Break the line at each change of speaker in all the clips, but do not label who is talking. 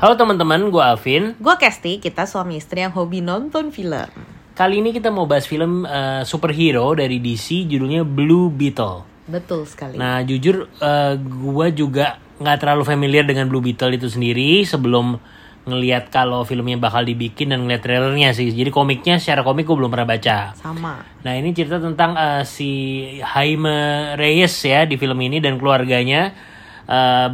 Halo teman-teman, gue Alvin.
Gue Kesti, kita suami istri yang hobi nonton film.
Kali ini kita mau bahas film eh, superhero dari DC judulnya Blue Beetle.
Betul sekali.
Nah, jujur eh, gua juga nggak terlalu familiar dengan Blue Beetle itu sendiri sebelum ngelihat kalau filmnya bakal dibikin dan ngeliat trailernya sih. Jadi komiknya secara komik gue belum pernah baca.
Sama.
Nah, ini cerita tentang eh, si Jaime Reyes ya di film ini dan keluarganya eh,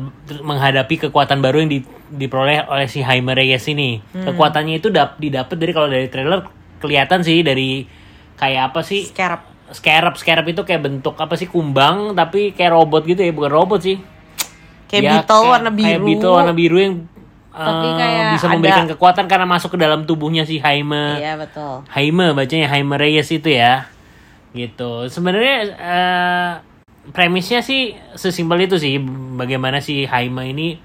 menghadapi kekuatan baru yang di- diperoleh oleh si Jaime Reyes ini.
Hmm.
Kekuatannya itu dap didapat dari kalau dari trailer kelihatan sih dari kayak apa sih?
Scarab.
Scarab, scarab itu kayak bentuk apa sih kumbang tapi kayak robot gitu ya, bukan robot sih.
Kayak
Ya,
beetle
kayak-
warna biru.
Kayak beetle warna biru yang
Tapi
eh,
kayak
bisa
ada-
memberikan kekuatan karena masuk ke dalam tubuhnya si Jaime.
Iya, betul.
Haime bacanya Haime Reyes itu ya gitu sebenarnya eh, premisnya sih sesimpel itu sih bagaimana si Haime ini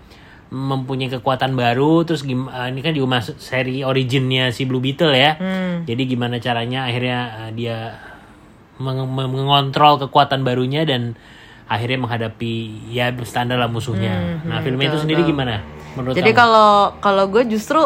mempunyai kekuatan baru terus gim eh, ini kan juga masuk seri originnya si Blue Beetle ya
Hmm.
jadi gimana caranya akhirnya eh, dia meng- meng- mengontrol kekuatan barunya dan akhirnya menghadapi ya standar lah
Hmm,
musuhnya nah filmnya itu sendiri gimana menurut
Jadi
kamu?
kalau kalau gue justru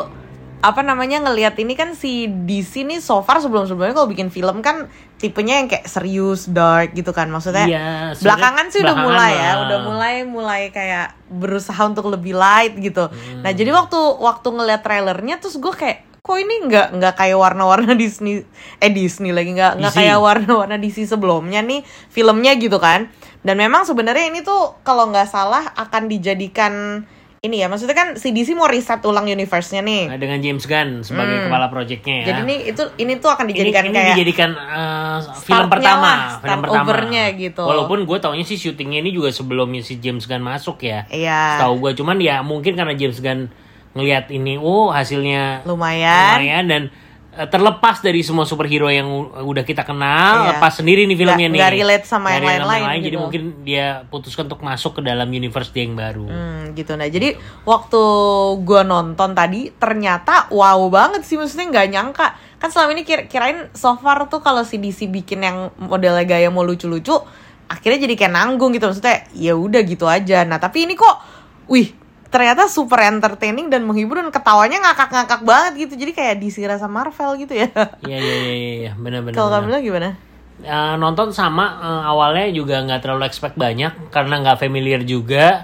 apa namanya ngelihat ini kan si DC nih so far sebelum-sebelumnya kalau bikin film kan tipenya yang kayak serius, dark gitu kan. Maksudnya
Iya, sebenarnya
belakangan sih udah
belakangan
mulai ya,
lah.
udah mulai mulai kayak berusaha untuk lebih light gitu.
Hmm.
Nah, jadi waktu waktu ngelihat trailernya terus gue kayak kok ini nggak nggak kayak warna-warna Disney eh Disney lagi nggak nggak
DC.
kayak warna-warna DC sebelumnya nih filmnya gitu kan dan memang sebenarnya ini tuh kalau nggak salah akan dijadikan ini ya maksudnya kan si DC mau riset ulang universe-nya nih
Nah, dengan James Gunn sebagai kepala proyeknya ya
Hmm. jadi ini itu ini tuh akan dijadikan
ini, ini
kayak
dijadikan eh, film
Startnya
pertama,
lah,
film
start overnya gitu.
Walaupun gue taunya sih syutingnya ini juga sebelumnya si James Gunn masuk ya.
iya
Tahu gue cuman ya mungkin karena James Gunn ngelihat ini, oh hasilnya
lumayan
lumayan dan eh, terlepas dari semua superhero yang u- udah kita kenal,
Iya.
lepas sendiri nih filmnya
Nggak-
nih.
nggak relate sama yang
relate
lain-lain
Jadi
gitu.
mungkin dia putuskan untuk masuk ke dalam universe dia yang baru.
Hmm, gitu nah jadi waktu gua nonton tadi ternyata wow banget sih maksudnya nggak nyangka kan selama ini kira kirain so far tuh kalau si DC bikin yang modelnya gaya mau lucu-lucu akhirnya jadi kayak nanggung gitu maksudnya ya udah gitu aja nah tapi ini kok wih ternyata super entertaining dan menghibur dan ketawanya ngakak-ngakak banget gitu jadi kayak DC rasa Marvel gitu ya
Iya iya iya iya, iya benar-benar.
kalau kamu bilang gimana
Eh, nonton sama eh, awalnya juga nggak terlalu expect banyak karena nggak familiar juga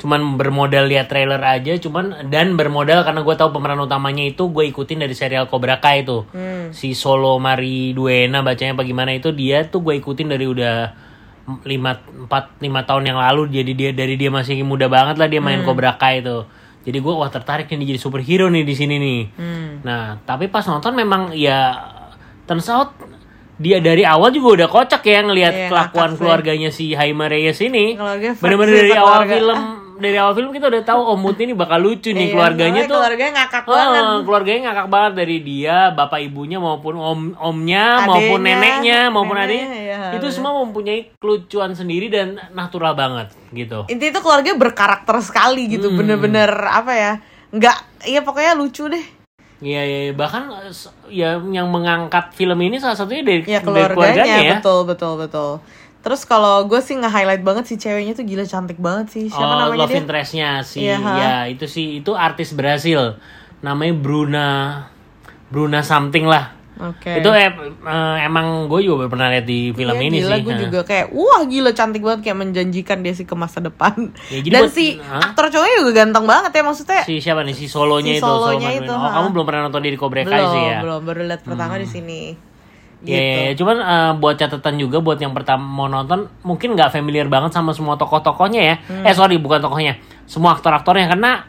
cuman bermodal lihat trailer aja cuman dan bermodal karena gue tahu pemeran utamanya itu gue ikutin dari serial Cobra Kai itu si Solo Mari Duena bacanya apa gimana itu dia tuh gue ikutin dari udah lima empat lima tahun yang lalu jadi dia dari dia masih muda banget lah dia main Cobra Kai itu jadi gue wah tertarik nih jadi superhero nih di sini nih nah tapi pas nonton memang ya turns out dia dari awal juga udah kocak ya ngelihat
Iya,
kelakuan
ngakak sih.
keluarganya si Jaime Reyes ini
Keluarga freak
bener-bener
sih,
dari
keluarga.
awal film dari awal film kita udah tahu oh mood ini bakal lucu nih
Iya,
keluarganya
soalnya kan.
tuh
keluarganya ngakak
Oh,
banget
keluarganya ngakak banget dari dia, bapak ibunya maupun om omnya
Adenya,
maupun neneknya maupun
neneknya,
adiknya.
iya,
itu
bener.
semua mempunyai kelucuan sendiri dan natural banget gitu.
intinya itu keluarga berkarakter sekali gitu
Hmm.
bener-bener apa ya nggak iya pokoknya lucu deh
Iya, iya, iya. bahkan eh, s- ya yang mengangkat film ini salah satunya dari, dari
ya keluarganya,
keluarganya ya.
betul betul betul terus kalau gue sih nge-highlight banget si ceweknya tuh gila cantik banget sih siapa
Oh,
namanya
love
dia
interestnya si
Iya, ha.
ya itu sih itu artis Brasil namanya Bruna Bruna something lah
oke
itu em- eh, emang gue juga baru pernah lihat di film
Iya,
ini
gila,
sih
gue
Nah,
juga kayak wah gila cantik banget kayak menjanjikan dia sih ke masa depan
Ya, jadi
dan
buat-
si
Hah?
aktor cowoknya juga ganteng banget ya maksudnya
si siapa nih si solonya itu
Si
Solo
solonya
Manuel.
itu,
oh
ha.
kamu belum pernah nonton di Cobra Kai
belum
sih ya
belum baru lihat pertama di sini Gitu.
Iya, iya, iya. cuman eh, buat catatan juga buat yang pertama mau nonton mungkin nggak familiar banget sama semua tokoh-tokohnya ya.
Hmm.
Eh sorry bukan tokohnya, semua aktor-aktornya karena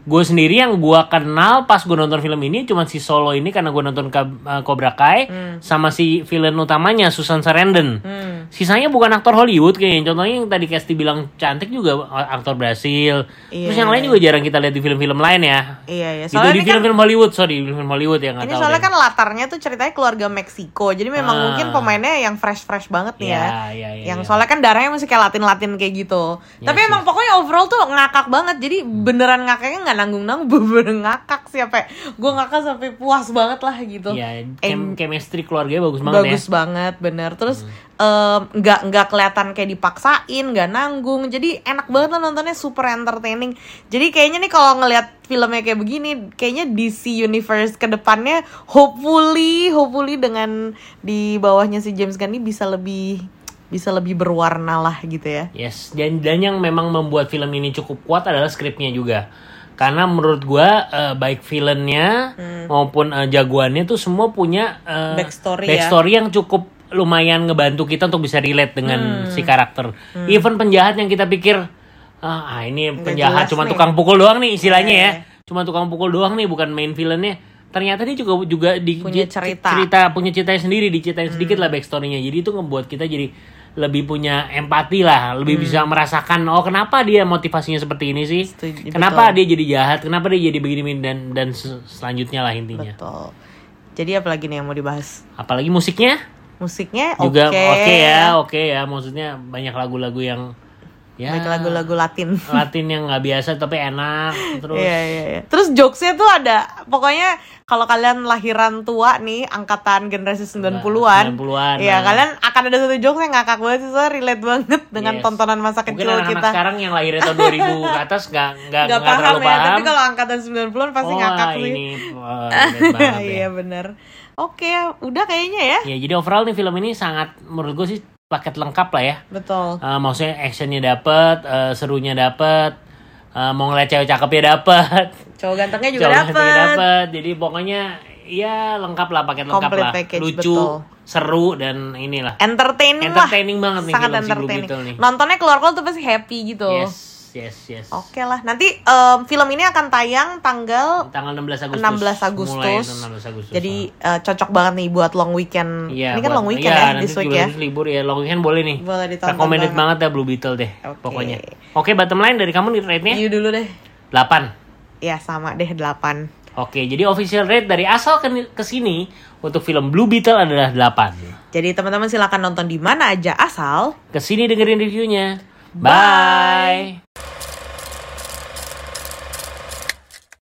gue sendiri yang gue kenal pas gue nonton film ini cuman si Solo ini karena gue nonton Ka- eh, Cobra Kai
Hmm.
sama si villain utamanya Susan Sarandon. Sisanya bukan aktor Hollywood kayaknya. Contohnya yang tadi Kesti bilang cantik juga eh, aktor Brasil. Terus
Iya.
yang lain juga jarang kita lihat di film-film lain ya.
iya iya
Itu di
soalnya ini kan
film-film Hollywood, sorry, di film Hollywood ya nggak
Ini
tahu
soalnya
deh.
kan latarnya tuh ceritanya keluarga Meksiko. Jadi memang
Ah.
mungkin pemainnya yang fresh-fresh banget nih
Iya,
ya.
iya, iya, iya.
yang soalnya kan darahnya masih kayak Latin-Latin kayak gitu. Tapi emang pokoknya overall tuh ngakak banget. Jadi beneran ngakaknya nggak nanggung-nanggung, bener ngakak sih sampai gue ngakak sampai puas banget lah gitu.
Iya,
Em-
chem- chemistry keluarganya bagus banget
bagus
ya.
banget bener terus em, nggak nggak kelihatan kayak dipaksain nggak nanggung jadi enak banget lah nontonnya super entertaining jadi kayaknya nih kalau ngelihat filmnya kayak begini kayaknya DC Universe kedepannya hopefully hopefully dengan di bawahnya si James Gunn ini bisa lebih bisa lebih berwarna lah gitu ya
Yes, dan dan yang memang membuat film ini cukup kuat adalah skripnya juga. Karena menurut gua eh, baik villainnya maupun eh, jagoannya tuh semua punya eh,
Hmm. Backstory ya.
backstory yang cukup lumayan ngebantu kita untuk bisa relate dengan
Hmm.
si karakter. Even penjahat yang kita pikir ah ah, ini penjahat
jelas
cuma
nih."
tukang pukul doang nih istilahnya
Iya,
ya. Cuma tukang pukul doang nih bukan main villainnya. Ternyata dia juga juga di,
Punya
cer-
cerita.
cerita punya ceritanya sendiri
Hmm.
diceritain sedikit lah backstorynya jadi itu ngebuat kita jadi lebih punya empati lah lebih
Hmm.
bisa merasakan oh kenapa dia motivasinya seperti ini sih
Setuju,
kenapa dia jadi jahat kenapa dia jadi begini dan dan se- selanjutnya lah intinya
betul jadi apalagi nih yang mau dibahas
apalagi musiknya
musiknya oke
juga oke ya oke ya maksudnya banyak lagu-lagu yang ya
Baik lagu-lagu Latin
Latin yang nggak biasa tapi enak terus
Iya, iya, iya. Terus jokesnya tuh ada, pokoknya kalau kalian lahiran tua nih, angkatan generasi 90-an.
90-an, nah.
Iya, kalian akan ada satu jokes yang ngakak banget sih, soalnya relate banget dengan
Yes.
tontonan masa
mungkin
kecil
anak-anak
kita.
sekarang yang lahirnya tahun 2000 ke atas nggak nggak
Gak
nggak
paham
terlalu
ya,
paham
tapi kalau angkatan 90-an pasti
Oh,
ngakak sih.
ini uh, relate banget ya.
Iya, bener. Oke, udah kayaknya ya.
Ya jadi overall nih film ini sangat menurut gue sih paket lengkap lah ya.
Betul.
Eh, maksudnya actionnya dapet, eh, serunya dapet, eh, mau ngeliat cewek cakepnya dapet,
Cowok gantengnya juga
cowok cantiknya
dapet.
dapet. Jadi pokoknya ya lengkap lah paket lengkap
Complete
lah,
package,
lucu,
betul.
seru dan inilah
Entertaining,
entertaining
lah.
banget nih
Sangat
film si Blue
entertaining.
Beetle nih.
Nontonnya keluar-keluar tuh pasti happy gitu.
Yes, yes, yes.
Oke lah, nanti em, film ini akan tayang tanggal
Tanggal 16 Agustus.
16 Agustus.
Mulai itu 16 Agustus. Hmm. oh.
Jadi eh, cocok banget nih buat long weekend.
Iya,
ini kan
buat-
long weekend
iya,
ya
nanti
this week
juga
ya.
harus libur ya, long weekend boleh nih.
Boleh ditonton
Recommended banget dah Blue Beetle deh,
Oke.
pokoknya. Oke, bottom line dari kamu nih rate-nya
Iya dulu deh.
8.
Ya sama deh 8.
Oke, jadi official rate dari asal ke, ke sini untuk film Blue Beetle adalah 8.
Jadi teman-teman silakan nonton di mana aja asal
Ke sini dengerin reviewnya. Bye.